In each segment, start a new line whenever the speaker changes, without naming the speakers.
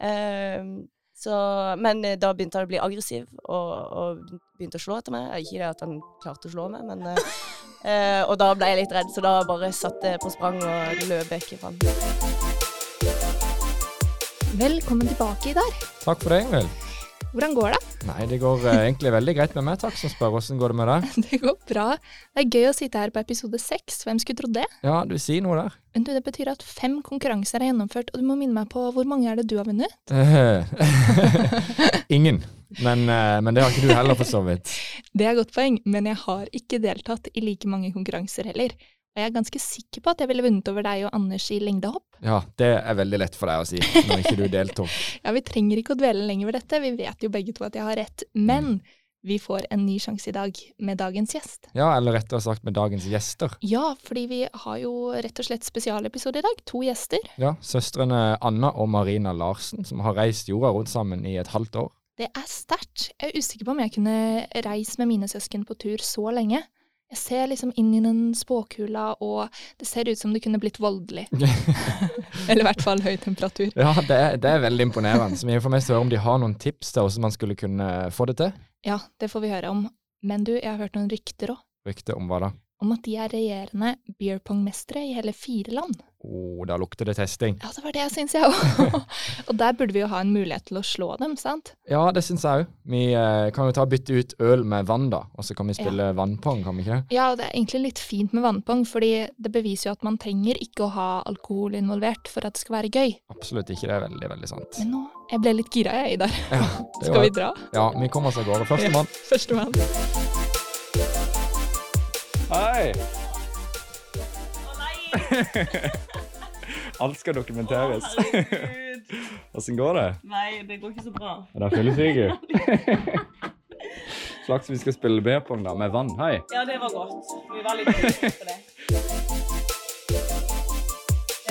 Ehm, Så, men eh, da begynte han å bli aggressiv og, og begynte å slå etter meg. Ikke det at han klarte å slå meg, men eh, eh, Og da ble jeg litt redd, så da bare satte jeg på sprang og løp vekk fra han.
Velkommen tilbake, Idar.
Takk for det, Ingvild.
Hvordan går det?
Nei, det går eh, egentlig veldig greit med meg. Takk som spør. Hvordan går det med deg?
Det går bra. Det er gøy å sitte her på episode seks. Hvem skulle trodd det?
Ja, du sier noe der.
Men du, det betyr at fem konkurranser er gjennomført, og du må minne meg på hvor mange er det du har vunnet?
Eh, Ingen. Men, eh, men det har ikke du heller, for så vidt.
Det er et godt poeng, men jeg har ikke deltatt i like mange konkurranser heller. Og jeg er ganske sikker på at jeg ville vunnet over deg og Anders i lengdehopp.
Ja, det er veldig lett for deg å si når ikke du deltok.
Ja, vi trenger ikke å dvele lenger ved dette, vi vet jo begge to at jeg har rett. Men vi får en ny sjanse i dag med dagens gjest.
Ja, eller rettere sagt med dagens gjester.
Ja, fordi vi har jo rett og slett spesialepisode i dag. To gjester.
Ja, Søstrene Anna og Marina Larsen, som har reist jorda rundt sammen i et halvt år.
Det er sterkt. Jeg er usikker på om jeg kunne reist med mine søsken på tur så lenge. Jeg ser liksom inn i den spåkula, og det ser ut som det kunne blitt voldelig. Eller i hvert fall høy temperatur.
Ja, det er, det er veldig imponerende. Så vi får mest høre om de har noen tips til hvordan man skulle kunne få det til.
Ja, det får vi høre om. Men du, jeg har hørt noen rykter òg,
Rykte om hva da?
om at de er regjerende beer pong-mestere i hele fire land.
Å, da lukter det testing.
Ja, det var det jeg syns, jeg òg. og der burde vi jo ha en mulighet til å slå dem, sant?
Ja, det syns jeg òg. Vi eh, kan jo ta bytte ut øl med vann, da. Og så kan vi spille vannpong, kan vi ikke det?
Ja, og det er egentlig litt fint med vannpong, fordi det beviser jo at man trenger ikke å ha alkohol involvert for at det skal være gøy.
Absolutt ikke. Det er veldig, veldig sant.
Men nå, jeg ble litt gira jeg, Idar.
Ja, det
Skal vi
var-
dra?
Ja, vi kommer oss av gårde. Førstemann.
Førstemann.
Hei! Alt skal dokumenteres.
herregud.
Åssen går det?
Nei, det går ikke så bra.
Er det fyllesyke? Slags vi skal spille B-pong da, med vann. Hei.
Ja, det var godt. Vi var litt dårlige på det.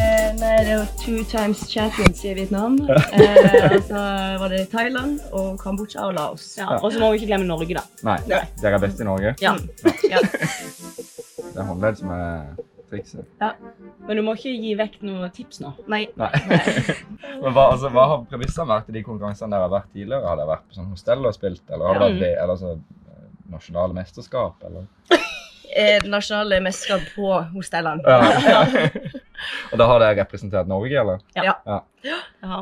Eh, Nei, det var two times champions i Vietnam. Eh, og så var det Thailand og Kambodsja og Laos. Ja, og så må vi ikke glemme Norge, da.
Nei, dere er best i Norge.
Ja. ja.
Det er håndledd som er trikset.
Men du må ikke gi vekk noe tips nå. Nei.
Nei. Men hva, altså, hva har premissene vært i de konkurransene dere har vært tidligere? Har dere vært på sånn hostell og spilt, eller har det vært det- eller så, eh, nasjonale mesterskap, eller?
Eh, det nasjonale mesterskap på hostellene.
Ja. og da har dere representert Norge, eller?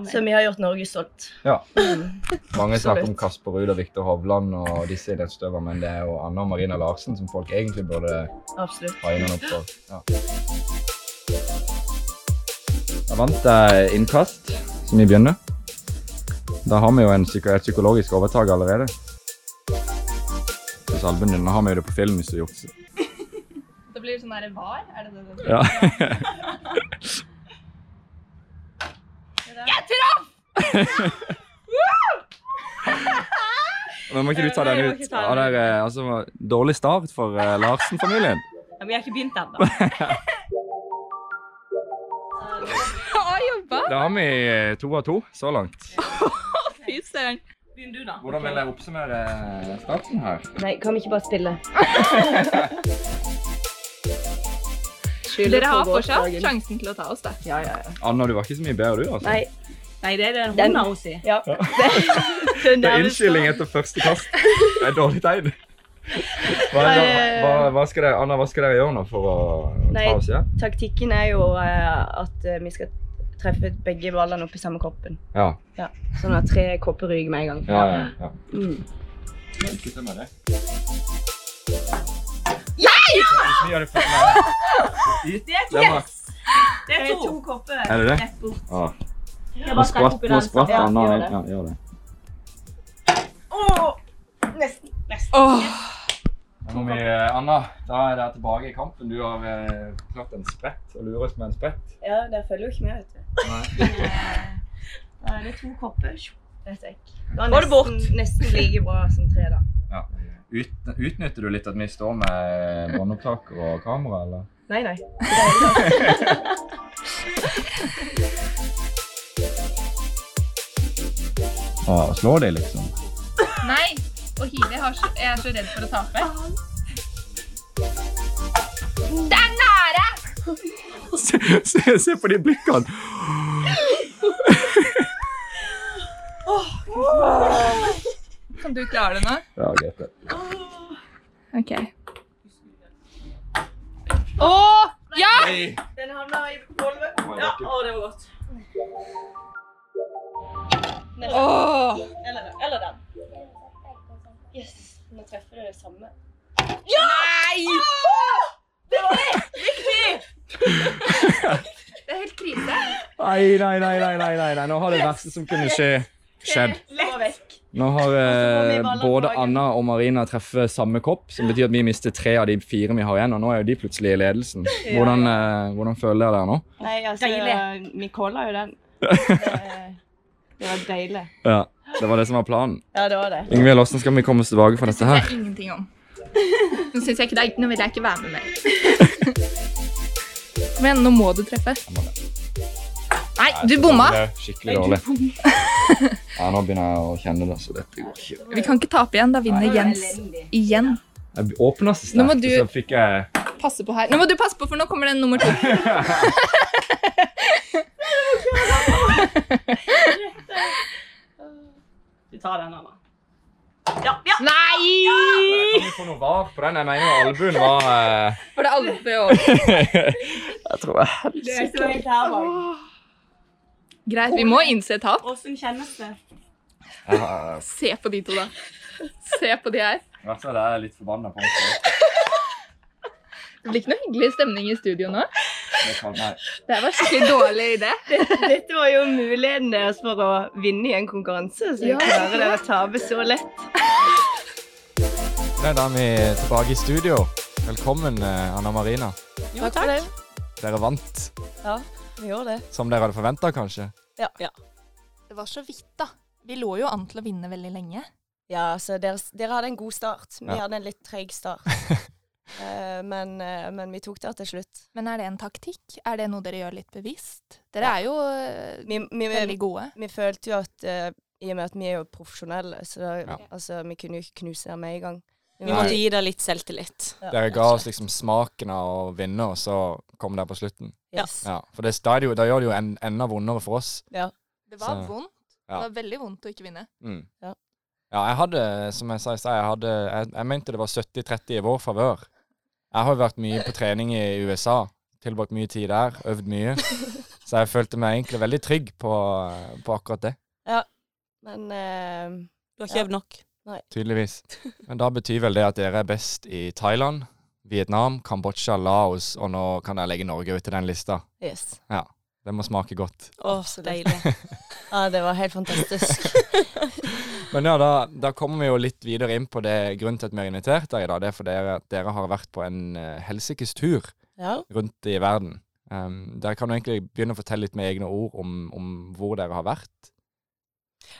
Så vi har gjort Norge stolt.
Mm. Mange snakker om
Absolutt.
Kasper Ruud og Viktor Hovland og disse idrettsutøverne, men det er jo Anna og Marina Larsen som folk egentlig burde
Absolutt.
ha øynene opp for. Ja. Da vant jeg innkast, som vi begynner. Da har vi jo en psyko et psykologisk overtak allerede. Hvis albuen din, nå har vi jo det på film hvis du jukser.
Det blir sånn der var, er det det?
Ja.
Jeg
traff! Men må ikke du ta
Nei,
den
jeg må
ut?
ikke ta
Ja,
den.
det er, eh, altså, dårlig start for eh, Larsen-familien.
Ja, vi har ikke begynt ennå.
Bra jobba!
Da har vi eh, to av to så langt.
Fy søren.
Begynn du, da.
Hvordan vil dere oppsummere starten her?
Nei, kan vi ikke bare spille?
Dere har fortsatt sjansen til å ta oss, da.
Ja, ja, ja.
Anna, du var ikke så mye bedre, du. altså.
Nei. Nei, det er den
Den-
hånda hun sier.
Ja.
Det er innskylding etter første kast. Det er dårlig tegn. Hva, hva, hva, hva skal dere, Anna, hva skal dere gjøre nå for å
Nei.
ta oss igjen?
Taktikken er jo eh, at eh, vi skal treffe begge ballene opp i samme koppen.
Ja.
Sånn at tre kopper ryker med en gang.
Ja, ja, ja.
Mm.
Lykke til med det. Hvis vi gjør det for meg.
Det er
Det var-
Det er to kopper.
Er det det?
Rett bort.
Ah,
Jeg
Nå
bare trekker
spratt,
opp i
nå
den.
spratt
Ja,
Anna.
gjør det.
Ja, gjør det.
Åh, Nesten. Nesten.
Åh,
Da må vi, eh, Anna, da er dere tilbake i kampen. Du har eh, klart en sprett og lurer oss med en sprett.
Ja, der følger jo ikke med, vet du.
Nei.
Da er det to kopper. Tjo, Rett vekk. Da er nesten, nesten like bra som tre, da.
Ja. Ut, utnytter du litt at vi står med båndopptaker og kamera, eller?
Nei, nei.
Ah, slå deg, liksom.
nei. Og Hili, jeg er så redd for å tape.
Se, se, se på de blikkene.
Du klarer det nå?
Ja, greit det.
OK. Åh! Ja!
Den havna i gulvet. Ja, å, det var godt.
Åh!
Eller, eller den. Yes, nå treffer du det samme.
Nei!
Det er helt krise.
Nei, nei, nei, nei, nei, nei, nei. Nå har det verste som kunne skje, skjedd.
Lett. Vekk.
Nå har
får vi
eh,
bare la
både
dagen.
Anna og Marina treffet samme kopp, som betyr at vi mister tre av de fire vi har igjen, og nå er jo de plutselig i ledelsen. Hvordan, eh, hvordan føler dere dere nå?
Nei, altså,
Deilig.
vi kåla jo den. Det- Det var deilig.
Ja, det var det som var planen.
Ja, det var det.
Ingvild, hvordan skal vi komme oss tilbake fra dette her?
Det er ingenting om. Nå, synes jeg ikke det er, nå vil jeg ikke være med mer. Kom igjen, nå må du treffe. Nei, du bomma.
Det er Skikkelig dårlig. Ja, nå begynner jeg å kjenne det, så dette går ikke.
Vi kan ikke tape igjen. Da vinner Jens igjen.
Jeg åpna så
Nå må
sterkt,
du-
og så fikk jeg
Passe på her. Nå må du passe på, for nå kommer den nummer to.
Du tar den, Anna. Ja, ja.
Nei!
Kan vi få noe var på den? Jeg mener albuen var eh,
For det er aldri over.
Jeg tror jeg
Du er ikke helt her bak.
Greit, vi må innse tap.
Åssen kjennes det?
Jeg har
Se på de to, da. Se på de her.
vært så der litt forbanna på meg.
Det blir ikke noe hyggelig stemning i studio nå.
Det kan- Nei.
Det her var skikkelig dårlig idé.
Dette var jo muligheten deres for å vinne i en konkurranse, så
Ja.
klarer dere å tape så lett.
Da er vi tilbake i studio. Velkommen, eh, Anna Marina.
Jo, takk. for det.
Dere vant,
Ja, vi gjorde det.
som dere hadde forventa, kanskje.
Ja. ja.
Det var så vidt, da. Vi lå jo an til å vinne veldig lenge.
så dere, dere hadde en god start. Vi
Ja.
hadde en litt treg start. Eh, men, eh, men vi tok det til slutt.
Men er det en taktikk? Er det noe dere gjør litt bevisst? Dere er jo eh,
Vi, vi, vi,
veldig gode.
vi følte jo at eh, i og med at vi er jo profesjonelle, så
Ja.
altså, vi kunne jo ikke knuse dem med en gang.
Vi måtte gi deg litt selvtillit.
Dere ga oss liksom smaken av å vinne, og så kom dere på slutten.
Yes.
Ja, for det, da, er det jo, da gjør det jo en, enda vondere for oss.
Det var
Så-
vondt.
Ja.
Det var veldig vondt å ikke vinne.
Mm.
Ja.
Ja, jeg hadde, som jeg sa i stad, jeg, hadde- jeg, jeg mente det var 70-30 i vår favør. Jeg har jo vært mye på trening i USA, tilbrakt mye tid der, øvd mye. Så jeg følte meg egentlig veldig trygg på, på akkurat det,
Men eh,
Du
Ja.
har ikke øvd nok.
tydeligvis. Men da betyr vel det at dere er best i Thailand, Vietnam, Kambodsja, Laos, og nå kan jeg legge Norge ut i den lista.
yes.
Det må smake godt.
Å, så deilig.
Ja, det var helt fantastisk.
Men ja, da, da kommer vi jo litt videre inn på det grunnen til at vi har invitert dere i dag. Det er fordi dere, dere har vært på en eh, helsikes tur
Ja.
rundt i verden. Um, dere kan jo egentlig begynne å fortelle litt med egne ord om, om hvor dere har vært.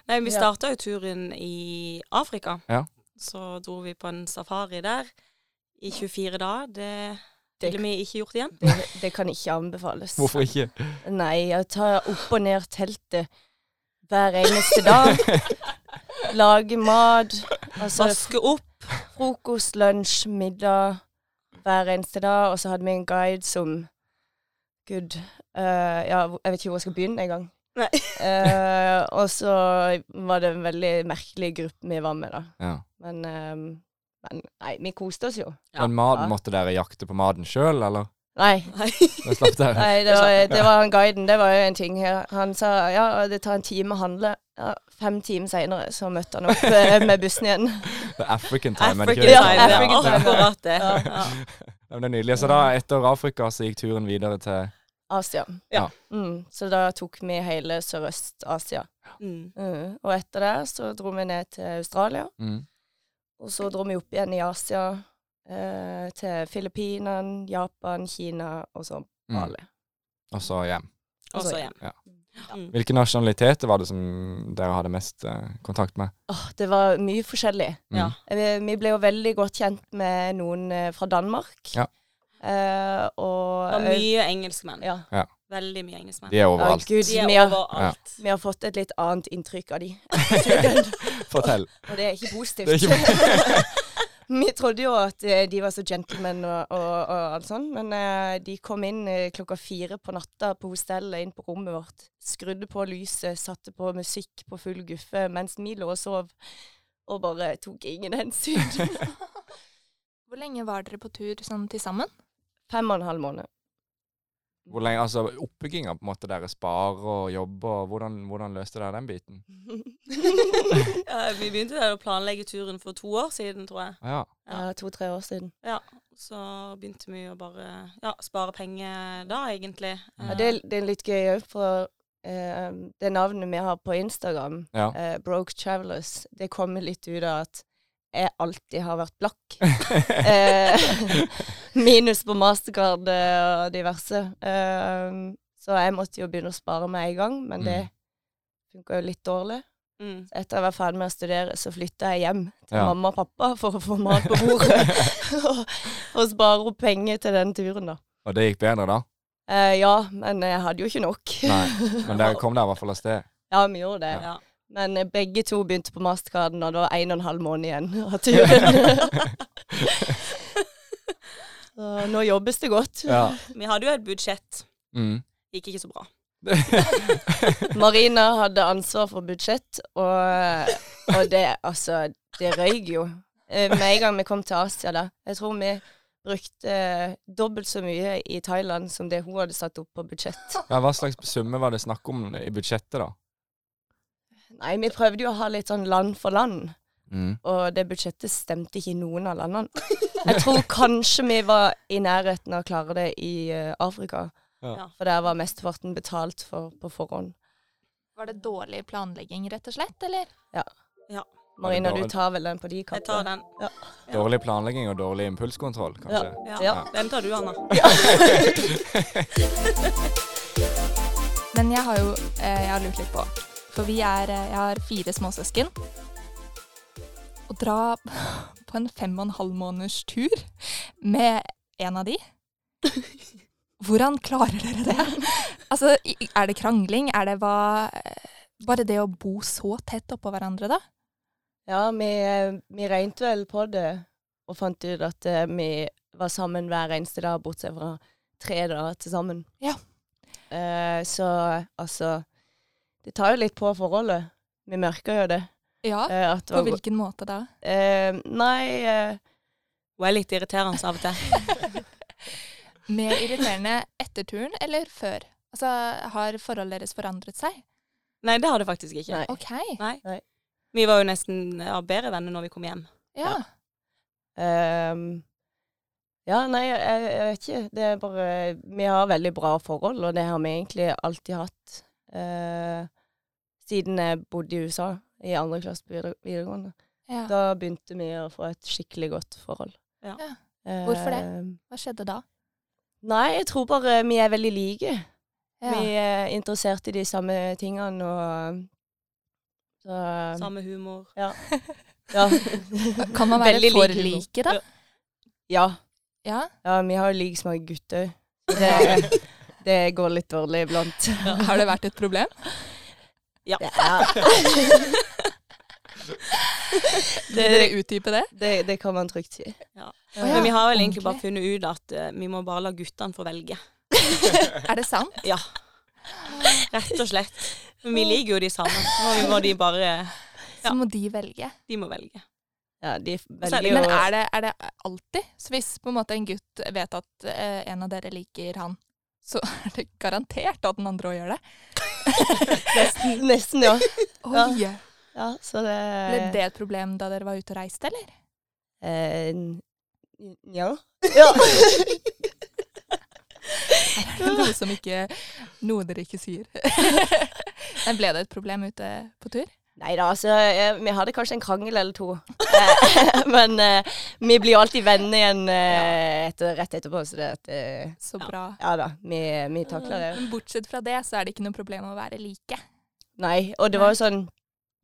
Nei, vi
Ja.
starta jo turen i Afrika.
Ja.
Så dro vi på en safari der i 24 dager. Det ville vi ikke gjort igjen.
Det, det kan ikke anbefales.
Hvorfor ikke?
Nei, jeg tar opp og ned teltet hver eneste dag. Lage mat. Altså
Vaske opp.
frokost, lunsj, middag hver eneste dag. Og så hadde vi en guide som Gud. eh, ja, hvor- jeg vet ikke hvor jeg skal begynne engang.
Nei.
Eh, og så var det en veldig merkelig gruppe vi var med, da.
Ja.
Men, eh, men nei, vi koste oss jo.
Ja.
Men maten,
Ja.
måtte dere jakte på maten sjøl, eller?
Nei,
Nei.
Da slapp dere.
Nei, det var, det var han guiden, det var jo en ting her. Han sa ja, det tar en time å handle. Ja, fem timer seinere så møtte han opp eh, med bussen igjen.
Det er African time, er det
African
ikke
time.
det?
Ja,
Ja, det
African
er
time.
akkurat det.
Ja.
Ja.
Ja, men det er nydelig. Så da, etter Afrika, så gikk turen videre til
Asia.
Ja.
Mm, så da tok vi hele Sørøst-Asia.
Mm.
Mm. Og etter det så dro vi ned til Australia.
mm.
Og så dro vi opp igjen i Asia, eh, til Filippinene, Japan, Kina og så
Mm.
Bali.
Og så hjem.
Og så hjem.
Ja.
Mm.
Hvilke nasjonaliteter var det som dere hadde mest eh, kontakt med?
Åh, det var mye forskjellig.
Mm.
Ja.
Vi, vi ble jo veldig godt kjent med noen eh, fra Danmark.
Ja.
Eh, og
Det var mye engelskmenn.
Ja.
Veldig mye engelskmenn.
De er
Ja,
overalt.
Gud,
De er
vi, har,
overalt.
vi har fått et litt annet inntrykk av de.
Fortell.
Og det er ikke positivt.
Det er ikke
vi trodde jo at eh, de var så gentlemen og, og, og alt sånt, men eh, de kom inn eh, klokka fire på natta på hostellet, inn på rommet vårt, skrudde på lyset, satte på musikk på full guffe mens vi lå og sov. og bare tok ingen hensyn.
Hvor lenge var dere på tur sånn til sammen?
Fem og en halv måned.
Hvor lenge, altså Oppbygginga på en måte deres bar og jobb, og hvordan, hvordan løste dere den biten?
Eh, Vi begynte å planlegge turen for to år siden, tror jeg.
Ja.
Ja.
Ja, To-tre år siden.
Så begynte vi å bare ja, spare penger da, egentlig.
Ja,
Eh,
det, er- det er litt gøy òg, for eh, det navnet vi har på Instagram,
Ja.
eh, Broke Travelers, det kommer litt ut av at jeg alltid har vært blakk. Eh, minus på Mastercard eh, og diverse. Eh, så jeg måtte jo begynne å spare med en gang, men
Mm.
det funka jo litt dårlig.
mm.
Etter jeg var ferdig med å studere, så flytta jeg hjem til
Ja.
mamma og pappa for å få mat på bordet. og, og spare opp penger til den turen, da.
Og det gikk bedre da?
Eh, ja, men jeg hadde jo ikke nok.
Nei. Men dere kom dere i hvert fall av sted?
Ja, vi gjorde det.
Ja.
Men eh, begge to begynte på mastercarden, og det var en og en halv måned igjen av turen. Så nå jobbes det godt.
Ja.
Vi hadde jo et budsjett.
Mm.
Gikk ikke så bra.
Marina hadde ansvar for budsjett, og, og det altså Det røyk jo. Eh, Med en gang vi kom til Asia, da. Jeg tror vi brukte eh, dobbelt så mye i Thailand som det hun hadde satt opp på budsjett.
Ja, hva slags summe var det snakk om i budsjettet, da?
Nei, vi prøvde jo å ha litt sånn land for land.
Mm.
og det budsjettet stemte ikke i noen av landene. Jeg tror kanskje vi var i nærheten av å klare det i eh, Afrika,
Ja.
for der var mesteparten betalt for på forhånd.
Var det dårlig planlegging, rett og slett, eller?
Marina,
Var det
du
dårlig?
tar vel den på de
Jeg tar
kappene?
den.
Dårlig planlegging og dårlig impulskontroll, kanskje?
Ja.
Ja.
Den tar du, Anna.
Men jeg har jo eh, jeg har lurt litt på For vi er, eh, jeg har fire småsøsken. Å dra på en fem og en halv måneders tur med en av de Hvordan klarer dere det? Altså, i- er det krangling? Er det hva eh, Bare det å bo så tett oppå hverandre, da?
Ja, vi, eh, vi regnet vel på det, og fant ut at eh, vi var sammen hver eneste dag, bortsett fra tre dager til sammen.
Ja.
Eh, så altså Det tar jo litt på forholdet. Vi merker jo det.
Ja.
eh, at det
På
var-
hvilken måte da?
eh, nei eh,
Hun er litt irriterende av og til.
Mer irriterende etter turen eller før? Altså, har forholdet deres forandret seg?
Nei, det har det faktisk ikke.
Nei.
OK.
Nei.
Nei.
Vi var jo nesten ja, bedre venner når vi kom hjem.
Ja.
Ehm, ja, nei, jeg, jeg vet ikke. Det er bare Vi har veldig bra forhold, og det har vi egentlig alltid hatt eh, siden jeg bodde i USA, i andre klasse på videre- videregående.
ja.
Da begynte vi å få et skikkelig godt forhold. Eh,
Ja.
Ja. Hvorfor det? Hva skjedde da?
nei, jeg tror bare vi er veldig like.
Ja.
Vi er interessert i de samme tingene og så,
Samme humor.
ja.
Kan man være
Veldig
for
lik humor.
like, da?
ja.
Ja.
Ja, vi har jo lik smak gutter. Så Det, det går litt dårlig iblant.
Har det vært et problem?
Det, er,
Vil dere utdype det?
det, det kan man trygt si.
Å ja,
Men vi har vel egentlig bare
ordentlig.
funnet ut at eh, vi må bare la guttene få velge.
Er det sant?
Ja. Rett og slett. Men vi liker jo de samme. Nå må de bare
Så må de velge.
De må velge.
Ja, de
er
velger
det
jo
Altså, Men er det, er det alltid? Så hvis på en måte en gutt vet at eh, en av dere liker han, så er det garantert at den andre òg gjør det?
nesten, nesten, ja. Ja. Eh.
Oi!
ja så det,
Ble det et problem da dere var ute og reiste, eller?
Eh, n- ja. ja.
Er det noe som ikke Noe dere ikke sier. Men ble det et problem ute på tur?
Nei da, altså eh, Vi hadde kanskje en krangel eller to. Eh, Men eh, vi blir jo alltid venner igjen eh, etter, rett etterpå, så det at eh,
Så
Ja.
bra.
Ja da, vi, vi takler det.
Men bortsett fra det, så er det ikke noe problem å være like.
Nei, og det var jo sånn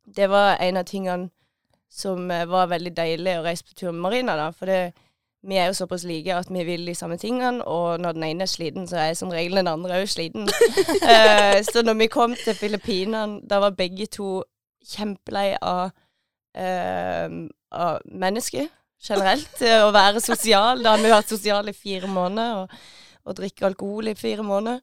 Det var en av tingene som eh, var veldig deilig å reise på tur med Marina, da. For det, vi er jo såpass like at vi vil de samme tingene, og når den ene er sliten, så er som regel den andre òg sliten. Eh, så når vi kom til Filippinene, da var begge to kjempelei av, eh, av mennesker generelt. eh, Å være sosial. Da har vi vært sosiale i fire måneder, og, og drikke alkohol i fire måneder.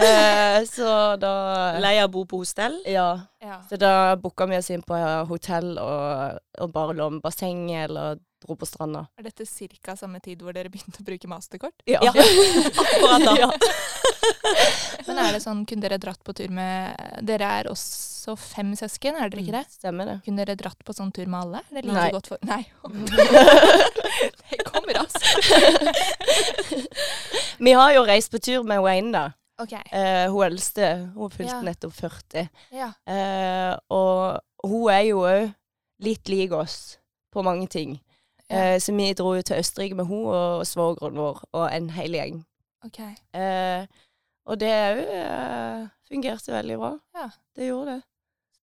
Eh, så da
Lei av å bo på hostell.
ja.
Ja.
Så da booka vi oss inn på hotell og, og bare lå med bassenget eller dro på stranda.
Er dette ca. samme tid hvor dere begynte å bruke masterkort?
Ja.
Ja. Akkurat da.
Ja.
Men er det sånn, kunne dere dratt på tur med Dere er også fem søsken, er dere ikke det?
Stemmer det.
Kunne dere dratt på sånn tur med alle? Det liker
Nei.
godt for Nei. det kommer raskt.
Vi har jo reist på tur med Wayne, da.
OK.
Eh, hun eldste. Hun fylte
Ja.
nettopp 40.
Ja.
Eh, og hun er jo òg litt lik oss på mange ting. Eh, så vi dro jo til Østerrike med hun og svogeren vår og en hel gjeng.
ok.
Eh, og det òg eh, fungerte veldig bra.
Ja.
Det gjorde det.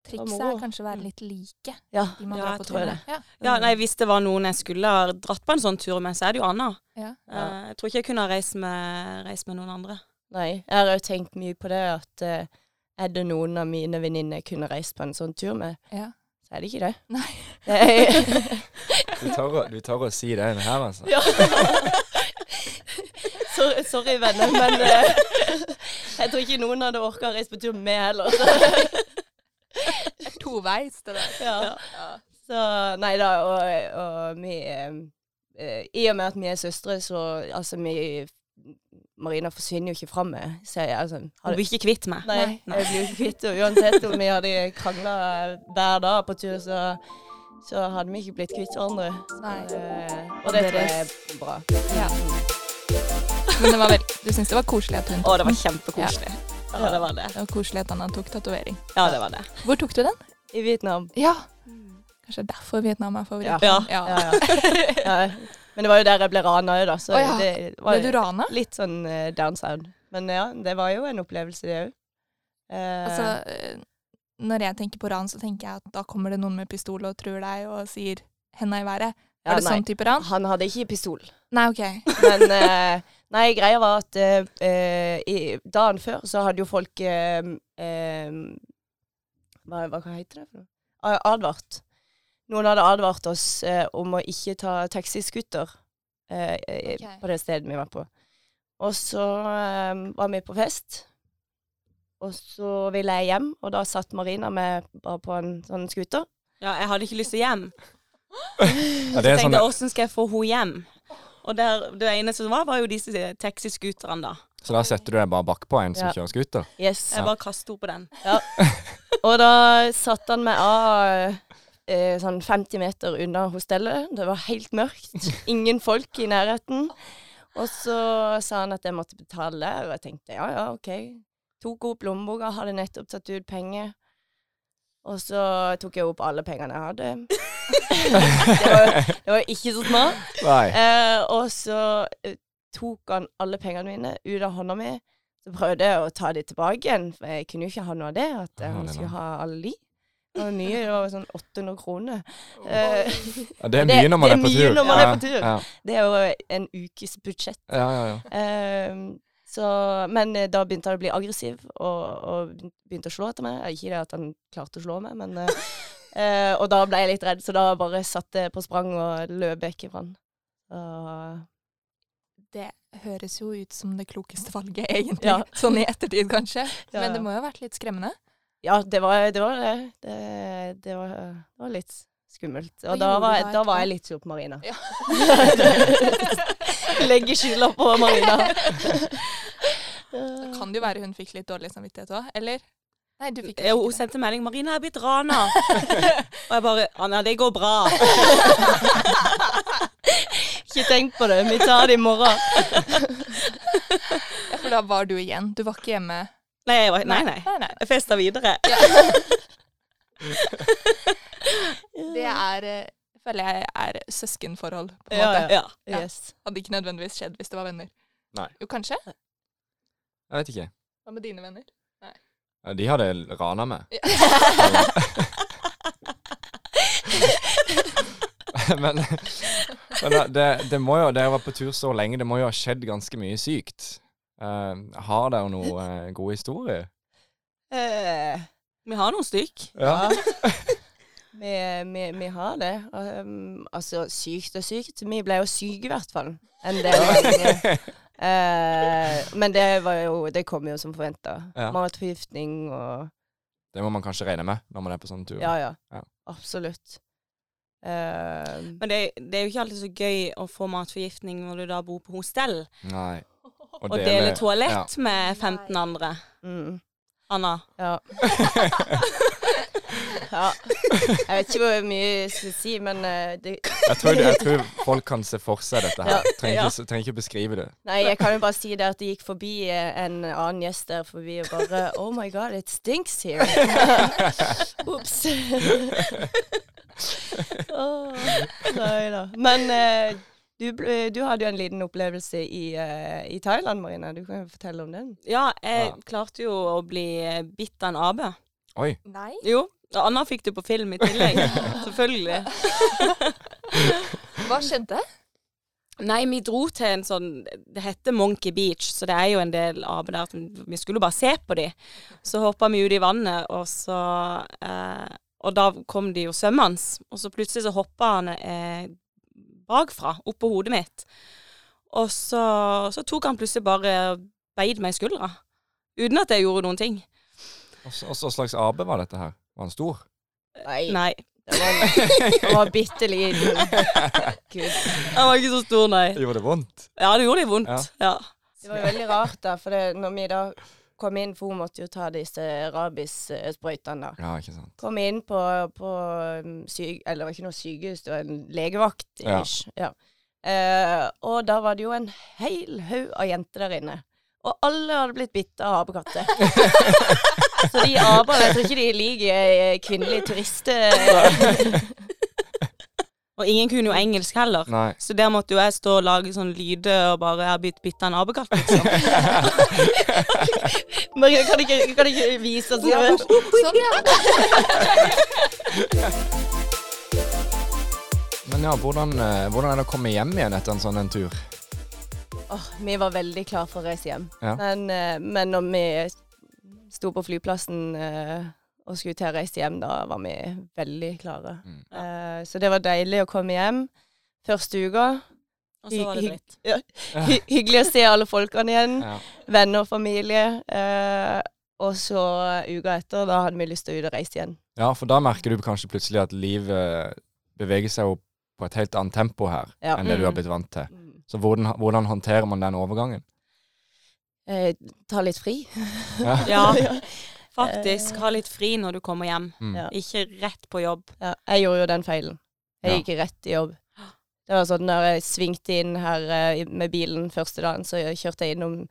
Trikset
moro.
er kanskje å være litt like.
Ja.
De man
Ja,
drar
jeg
på
tror
tur
det.
med. Ja.
Ja, nei, Hvis det var noen jeg skulle ha dratt på en sånn tur med, så er det jo Anna.
Ja.
Ja.
Eh, Jeg tror ikke jeg kunne ha reist med, reist med noen andre.
Nei, jeg har jo tenkt mye på det at eh, er det noen av mine venninner jeg kunne reist på en sånn tur med,
Ja.
så er det ikke det.
Nei.
Det er,
Du tør, å- du tør å si det inn her, altså.
ja. sorry, sorry, venner, men eh, jeg tror ikke noen hadde orka å reise på tur med heller. Så,
Det er toveis, det der.
ja. så nei da, og, og vi eh, eh, I og med at vi er søstre, så altså vi Marina forsvinner jo ikke fra meg. Så jeg, altså, har-
Hun blir ikke kvitt meg.
Nei,
Nei.
jeg blir jo ikke kvitt henne. Uansett om vi hadde krangla hver dag på tur, så, så hadde vi ikke blitt kvitt hverandre.
Nei.
Eh, og det tror jeg er bra.
Ja. Men det var vel, du syns det var koselig at hun
Å, det var
den?
kjempekoselig. Ja, det var det.
Det var koselig at Anna tok tatovering.
Ja, det var det.
Hvor tok du den?
I Vietnam.
Ja. Kanskje derfor Vietnam er favoritt.
Ja.
Ja, ja. ja. Men det var jo der jeg ble rana òg, da. Så
Å ja.
det
Ble du
var
rana?
litt sånn eh, down sound. Men ja, det var jo en opplevelse, det òg. Eh,
Altså, eh, når jeg tenker på ran, så tenker jeg at da kommer det noen med pistol og truer deg og sier 'henda i været'.
Ja,
er det
nei.
sånn type ran?
han hadde ikke pistol.
Nei, OK.
Men eh, nei, greia var at eh, eh, i, dagen før så hadde jo folk eh, eh, hva, hva heter det for noe? A- Advart. Noen hadde advart oss eh, om å ikke ta taxiskuter eh, eh,
Ok.
på det stedet vi var på. Og så eh, var vi på fest, og så ville jeg hjem, og da satt Marina med bare på en sånn skuter.
Ja, jeg hadde ikke lyst til hjem.
Ja, det er
tenkte
sånn,
jeg, hvordan skal jeg få henne hjem? Og der, det eneste som var, var jo disse taxiscooterne, da.
så da setter du deg bare bakpå en som
Ja.
kjører scooter.
Yes.
Jeg bare kastet henne på den.
Og da satte han meg av eh, sånn 50 meter unna hostellet. Det var helt mørkt. Ingen folk i nærheten. Og så sa han at jeg måtte betale, og jeg tenkte ja, ja, OK. Tok opp lommeboka, hadde nettopp tatt ut penger. Og så tok jeg opp alle pengene jeg hadde. det, var, det var ikke så smart.
Nei.
Eh, og så eh, tok han alle pengene mine ut av hånda mi. Så prøvde jeg å ta de tilbake igjen, for jeg kunne jo ikke ha noe av det. At eh, han
Halleluja.
skulle ha alle de. Det var mye, det var sånn 800 kroner. Eh,
Ja, det er
Det-
mye når man
det
er
er
på tur.
mye når man er på tur.
Ja,
det er jo en ukes budsjett.
ja, ja. ja.
Eh, så, men eh, da begynte han å bli aggressiv, og, og begynte å slå etter meg. Eh, Ikke det at han klarte å slå meg, men eh, eh, Og da ble jeg litt redd, så da bare satte jeg på sprang og løp vekk ifra han. Så-
Det høres jo ut som det klokeste valget, egentlig.
Ja.
Sånn i ettertid, kanskje.
Ja,
Men
ja.
det må jo ha vært litt skremmende.
Ja, det var det. Var det. Det, det, var, det var litt skummelt.
Hva
Og da
gjorde
var,
du
jeg-
da
da var
etterpå?
jeg litt sur på Marina.
Ja.
Legge skylda på Marina.
Så kan det jo være hun fikk litt dårlig samvittighet òg, eller? Nei, du fikk
Eh, Hun sendte melding 'Marina er blitt rana'. og jeg bare 'Anna, det går bra'.
Ikke tenk på det. Vi tar det i morgen.
Ja, for da var du igjen. Du var ikke hjemme.
Nei, jeg var, nei, nei.
Nei, nei.
Jeg festa videre.
Det er eh, føler jeg er søskenforhold, på en
Ja,
måte.
ja.
Ja.
Ja.
Yes.
Hadde ikke nødvendigvis skjedd hvis det var venner.
Nei.
Jo, kanskje?
Jeg vet ikke.
Hva med dine venner?
Ja, De hadde rana meg. men men da- det, det må jo, dere var på tur så lenge, det må jo ha skjedd ganske mye sykt. Eh, har dere noen eh, gode historier?
Eh,
Vi har noen stykk.
ja. Vi, vi, vi har det. Um, altså, sykt og sykt. Vi ble jo syke, i hvert fall. En del ganger. Eh, men det var jo Det kom jo som forventa.
Ja.
Matforgiftning og
Det må man kanskje regne med når man er på sånn sånne turer.
Ja, ja.
Ja.
Absolutt. Eh,
Men det, det er jo ikke alltid så gøy å få matforgiftning når du da bor på hostell
Nei.
og deler toalett med 15 andre.
mm,
Anna.
ja. ja. Jeg vet ikke hvor mye jeg skal si, men eh, det,
Jeg tror, jeg tror folk kan se for seg dette her.
Ja.
Trenger ikke, trenger ikke beskrive det.
Nei, jeg kan jo bare si det at det gikk forbi eh, en annen gjest der forbi og bare Oh my god, it stinks here. Ops. Åh, nei da. Men eh, du, ble- du hadde jo en liten opplevelse i, eh, i Thailand, Marina. Du kan jo fortelle om den.
Ja, jeg
Ja.
klarte jo å bli eh, bitt av en ape.
Oi.
Nei.
Jo. og Anna fikk det på film i tillegg. Selvfølgelig.
Hva skjedde?
Nei, vi dro til en sånn Det heter Monkey Beach, så det er jo en del aper der. som- Vi skulle jo bare se på de. Så hoppa vi ut i vannet, og så eh, Og da kom de jo svømmende. Og så plutselig så hoppa han eh, bakfra, oppå hodet mitt. Og så, så tok han plutselig bare og beit meg i skuldra. Uten at jeg gjorde noen ting.
Og så- og så slags ape var dette her? Var han stor?
Nei,
Nei.
det var, det var bitte liten. Gud.
Han var ikke så stor, nei.
Gjorde det vondt?
Ja, det gjorde litt vondt. Ja.
Det var jo veldig rart, da, for det, når vi da kom inn, for hun måtte jo ta disse rabissprøytene, da.
Ja, ikke sant.
kom inn på, på um, syk, Eller det var ikke noe sykehus, det var en legevakt.
Ja.
ish. Ja. Eh, og da var det jo en hel haug av jenter der inne. Og alle hadde blitt bitt av apekatter. Så de apene Jeg tror ikke de liker eh, kvinnelige turister.
Og ingen kunne jo engelsk heller.
Nei.
Så der måtte jo jeg stå og lage sånn lyder og bare Jeg har blitt bitt av en apekatt, liksom.
Maria, kan du ikke, kan du ikke vise oss det?
Sånn, ja.
Men ja, hvordan, eh, hvordan er det å komme hjem igjen etter en sånn en tur?
Åh, vi var veldig klar for å reise hjem.
Ja.
Men, eh, men når vi sto på flyplassen eh, og skulle til å reise hjem, da var vi veldig klare.
Mm.
Eh, så det var deilig å komme hjem første uka.
Og så var det dritt.
Hy hyggelig å se alle folkene igjen.
Ja.
Venner og familie. Eh, og så uka etter, da hadde vi lyst til å ut og reise igjen.
ja, for da merker du kanskje plutselig at livet beveger seg jo på et helt annet tempo her
Ja. Mm.
enn det du har blitt vant til. Så hvordan, hvordan håndterer man den overgangen?
Eh, ta litt fri.
Ja.
Ja. Faktisk, ha litt fri når du kommer hjem.
Mm.
Ja.
Ikke rett på jobb.
Ja, jeg gjorde jo den feilen. Jeg
Ja.
gikk rett i jobb. Det var sånn når jeg svingte inn her eh, i- med bilen første dagen, så jeg kjørte jeg innom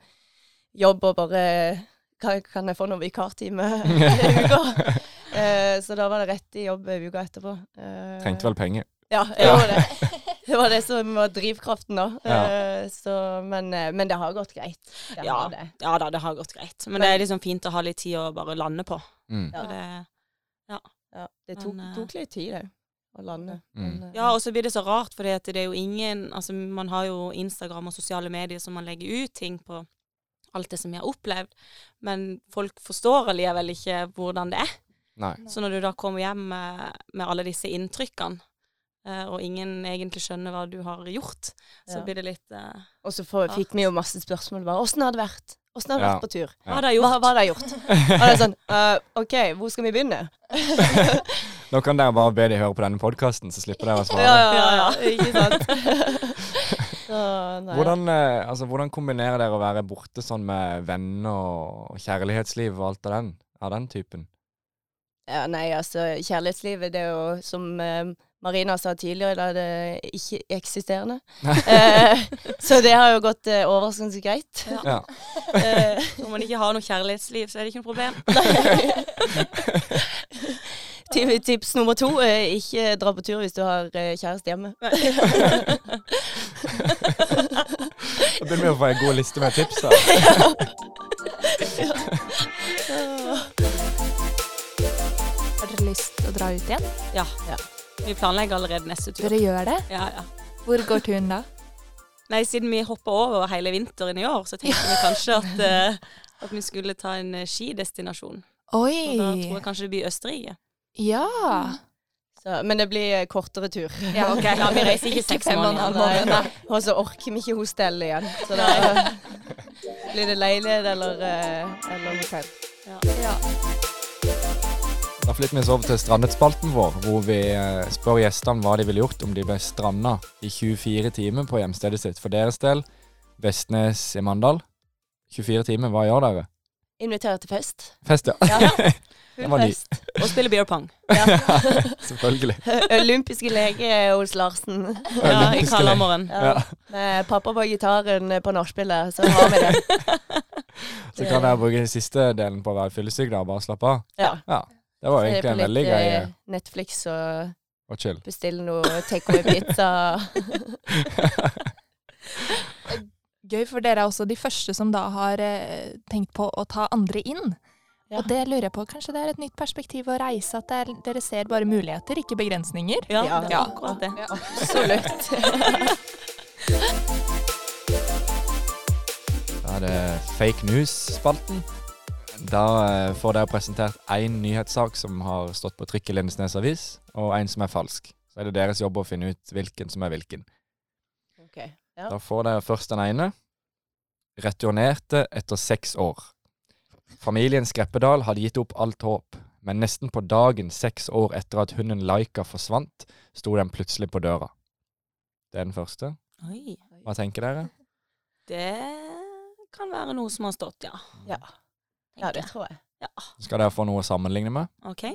jobb og bare Kan, kan jeg få noen vikartime i uka? Eh, så da var det rett i jobb uka etterpå. Eh,
Trengte vel penger.
Ja, jeg gjorde det. Det var det som var drivkraften da.
Ja.
Eh, så, men, eh, men det har gått greit. Det har
Ja.
det.
Ja da, det har gått greit. Men det er liksom fint å ha litt tid å bare lande på.
Mm.
Ja.
Og det,
Ja, det tok,
Men, eh,
tok litt tid, det, å lande.
Mm.
Men, eh,
ja, og så blir det så rart, for det er jo ingen Altså, man har jo Instagram og sosiale medier som man legger ut ting på. Alt det som vi har opplevd. Men folk forstår allikevel ikke hvordan det er.
Nei.
Så når du da kommer hjem med, med alle disse inntrykkene, eh, og ingen egentlig skjønner hva du har gjort, så
Ja.
blir det litt eh,
Og så får, fikk vi jo masse spørsmål. Bare, 'Åssen har det vært?' Åssen har det
Ja.
vært på tur?
Ja.
Hva har de
Hva,
gjort?
hva har de gjort? Og det er sånn «Eh, OK, hvor skal vi begynne?
Nå kan dere bare be de høre på denne podkasten, så slipper dere å svare.
ja,
Ikke sant? Så, nei.
Hvordan, eh, altså, hvordan kombinerer dere å være borte sånn med venner og- og kjærlighetsliv og alt av den, av den typen?
Ja, nei, altså, kjærlighetslivet, det er jo som eh, Marina sa tidligere, da det er ikke eksisterende. Eh, så det har jo gått eh, overraskende greit.
Ja.
Eh,
Når man ikke har noe kjærlighetsliv, så er det ikke noe problem.
ti- tips nummer to, eh, ikke dra på tur hvis du har eh, kjæreste hjemme.
Da begynner vi å få en god liste med tips. da.
Har dere lyst til å dra ut igjen?
Ja. Vi planlegger allerede neste tur.
Dere gjør det?
Ja, ja.
Hvor går turen da?
Nei, siden vi hoppa over hele vinteren i år, så tenkte vi kanskje at, eh, at vi skulle ta en eh, skidestinasjon. Og da tror
Oi!
jeg kanskje det blir Østerrike.
Ja!
Så, men det blir eh, kortere tur.
Ja, ok.
Ja, vi reiser ikke seks
fem og en
måneder.
halv
Nei,
måned.
nei. Og så orker vi ikke hostellet igjen. Så da blir det leilighet eller, eh, eller hotell.
Ja.
Da flytter vi oss over til strandetspalten vår, hvor vi eh, spør gjestene hva de ville gjort om de ble stranda i 24 timer på hjemstedet sitt. For deres del, Vestnes i Mandal. 24 timer, hva gjør dere?
Inviterer til fest.
Fest, ja.
Ja,
Det var ny.
fest.
Og spille beer pong.
Selvfølgelig.
Olympiske leke hos Larsen.
Ja, I
Olympiske
Kalamoren.
Ja. Med pappa på gitaren eh, på nachspielet, så har vi det.
Så kan dere bruke den siste delen på å være fyllesyk da, og bare slappe av.
Ja.
Ja. Det var jo
Så det er
egentlig
på
en veldig
litt,
grei
eh, Netflix og
og chill.
bestille noe takeaway-pizza.
Gøy, for dere er også de første som da har eh, tenkt på å ta andre inn.
Ja.
Og det lurer jeg på, kanskje det er et nytt perspektiv å reise, at det er, dere ser bare muligheter, ikke begrensninger.
Ja,
Ja.
det er akkurat det.
Absolutt.
Da er det fake news-spalten. Da eh, får dere presentert én nyhetssak som har stått på trykk i Lindesnes avis, og én som er falsk. Så er det deres jobb å finne ut hvilken som er hvilken.
Ok, ja.
Da får dere først den ene. Returnerte etter seks år. Familien Skreppedal hadde gitt opp alt håp, men nesten på dagen seks år etter at hunden Laika forsvant, sto den plutselig på døra. Det er den første.
Oi.
Hva tenker dere?
Det kan være noe som har stått, ja.
Ja. ja, det tror jeg.
Skal dere få noe å sammenligne med?
OK.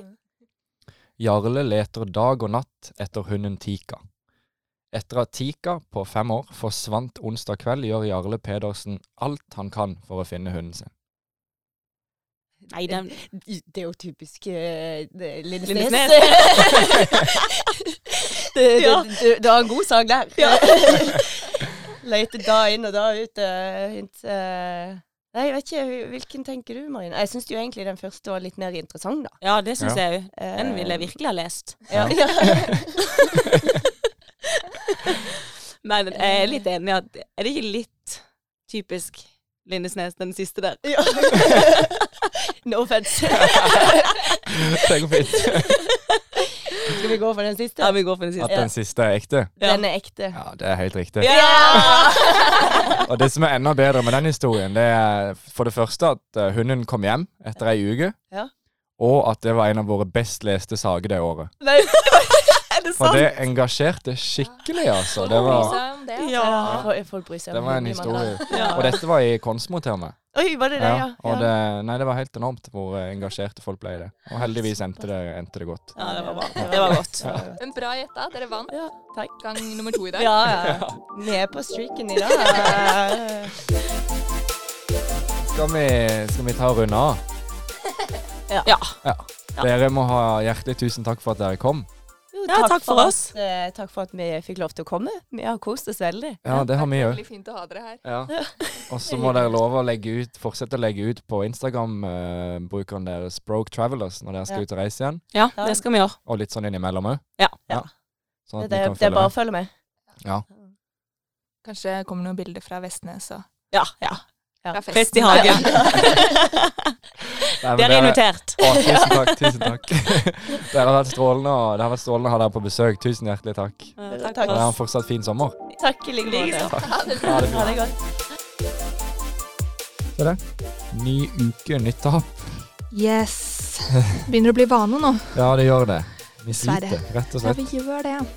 Jarle leter dag og natt etter hunden Tika. Etter at Tika, på fem år, forsvant onsdag kveld, gjør Jarle Pedersen alt han kan for å finne hunden sin.
Nei, den
Det er jo typisk eh, det- Lindesnes.
Lindesnes.
det, det,
Ja.
det, det var en god sang der. Leite da inn og da ut. eh, hint, eh. Nei, jeg vet ikke. Hvilken tenker du, Marine? Jeg syns jo egentlig den første var litt mer interessant, da.
Ja, det syns
Ja.
jeg òg. Den ville jeg virkelig ha lest.
Eh, Ja. Ja.
Men jeg er litt enig i at Er det ikke litt typisk Lindesnes, den siste der?
Ja. No offense.
Tenk fint
Skal vi gå for den siste?
Ja, vi går for den
at
siste.
den siste er ekte.
Ja.
Den er ekte.
Ja, det er helt riktig.
Ja!
Og det som er enda bedre med den historien, det er for det første at eh, hunden kom hjem etter ei uke.
Ja.
Og at det var en av våre best leste saker det året.
Nei, er det
For
sant?
det engasjerte skikkelig, altså. Det var,
Ja.
Folk- Folk bryr seg
det
om
var en
Lille Mandal.
historie.
Ja.
Og dette var i Konsmo til og med.
Oi, var det det, ja?
Ja, og det, nei, det var helt enormt hvor eh, engasjerte folk ble i det. Og heldigvis endte det, endte det godt.
Ja, det var bra. Det var godt.
Men bra gjetta, dere vant.
Ja, takk.
Gang nummer to i dag.
Ja, ja. Vi er på streaken i dag.
Skal vi, skal vi ta og runde av?
Ja.
Ja.
Ja. Dere må ha hjertelig tusen takk for at dere kom.
Jo,
Ja, takk for
at,
oss.
eh, takk for at vi fikk lov til å komme. Vi har kost oss veldig.
Ja, det har vi òg.
fint å ha dere her.
Ja. Og så må dere love å legge ut, fortsette å legge ut på Instagram-brukeren deres Broke Travelers når dere skal
Ja.
ut og reise igjen,
Ja, det skal vi gjøre.
og litt sånn innimellom òg.
Ja.
Det,
Sånn
det,
at vi kan
det er
følge
bare å
med.
følge med.
Kanskje det kommer noen bilder fra Vestnes og
Ja, ja.
Ja.
fra festen.
Fest i hagen.
Nei, men
Dere er
dere-
invitert.
Å, tusen takk, tusen takk. dere har vært strålende, og det har vært strålende å ha dere på besøk. Tusen hjertelig takk.
Takk
Takk.
for
Og ha
oss.
en fortsatt fin sommer.
Takk i like måte.
Ha det
Ha det godt.
bra. Ny uke, nytt tap.
Yes. Begynner å bli vane nå.
Ja, det gjør det. Vi
Dessverre.
sliter, rett
Ja,
og slett.
vi gjør det.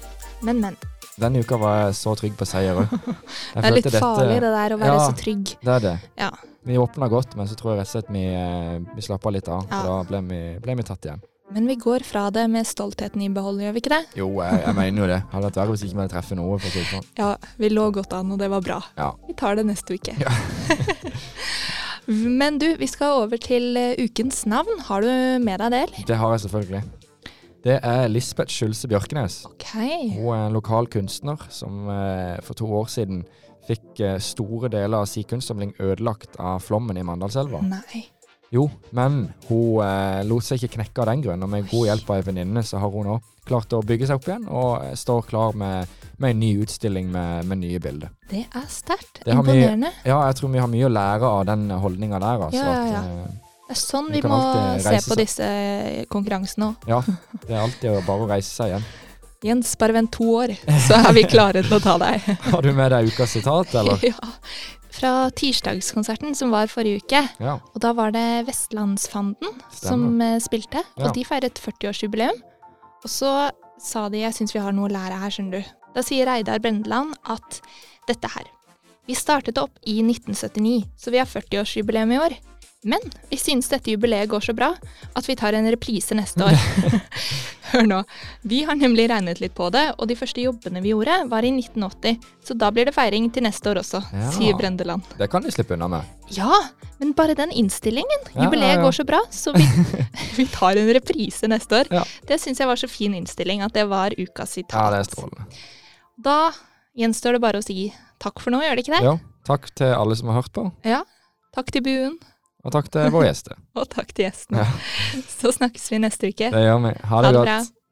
Men, men.
Denne uka var jeg så trygg på seier òg.
Det er litt farlig det der å være
Ja.
så trygg.
Det er det.
Ja.
Vi åpna godt, men så tror jeg rett og slett vi, eh, vi slappa litt av. For
Ja.
da ble vi, ble vi tatt igjen.
Men vi går fra det med stoltheten i behold, gjør vi ikke det?
Jo, jeg, jeg mener jo det. Hadde vært verre hvis ikke vi hadde truffet noe. For å si det sånn.
Ja, vi lå godt an, og det var bra.
Ja.
Vi tar det neste uke. men du, vi skal over til eh, ukens navn. Har du med deg det, eller?
Det har jeg selvfølgelig. Det er Lisbeth Skjulse Bjørkenes.
OK.
Hun er en lokal kunstner som eh, for to år siden fikk eh, store deler av sin kunstsamling ødelagt av flommen i Mandalselva.
Nei.
Jo, men hun eh, lot seg ikke knekke av den grunn, og med god hjelp av ei venninne så har hun nå klart å bygge seg opp igjen, og eh, står klar med, med en ny utstilling med, med nye bilder.
Det er sterkt.
Det har vi-
Imponerende.
Ja, jeg tror vi har mye å lære av den holdninga der, altså.
Ja, ja, ja.
At, eh,
Det er sånn
Vi
vi
kan
må
alltid
se
reise
på
seg.
disse eh, konkurransene òg.
det er alltid å bare reise seg igjen.
Jens, bare vent to år, så er vi klare til å ta deg.
Har du med deg ukas sitat, eller?
ja. fra tirsdagskonserten som var forrige uke.
Ja,
Og da var det Vestlandsfanden som
stemmer.
eh, spilte,
Ja.
og de feiret 40-årsjubileum. Og så sa de 'jeg syns vi har noe å lære her, skjønner du'. Da sier Reidar Brendeland at dette her Vi startet opp i 1979, så vi har 40-årsjubileum i år. Men vi syns dette jubileet går så bra at vi tar en reprise neste år. Hør nå. Vi har nemlig regnet litt på det, og de første jobbene vi gjorde, var i 1980. Så da blir det feiring til neste år også,
Ja.
sier Brendeland.
Det kan de slippe unna med.
Ja, men bare den innstillingen.
Ja,
Jubileet
ja, ja.
går så bra, så vi, vi tar en reprise neste år.
Ja.
Det syns jeg var så fin innstilling at det var ukas
Ja,
sitat.
det er strålende.
da gjenstår det bare å si takk for nå, gjør det ikke det?
Ja, takk til alle som har hørt på,
Takk til buen,
og takk til våre gjester.
og takk til gjestene.
Ja.
Så snakkes vi neste uke.
Det gjør vi. Ha det godt.
bra.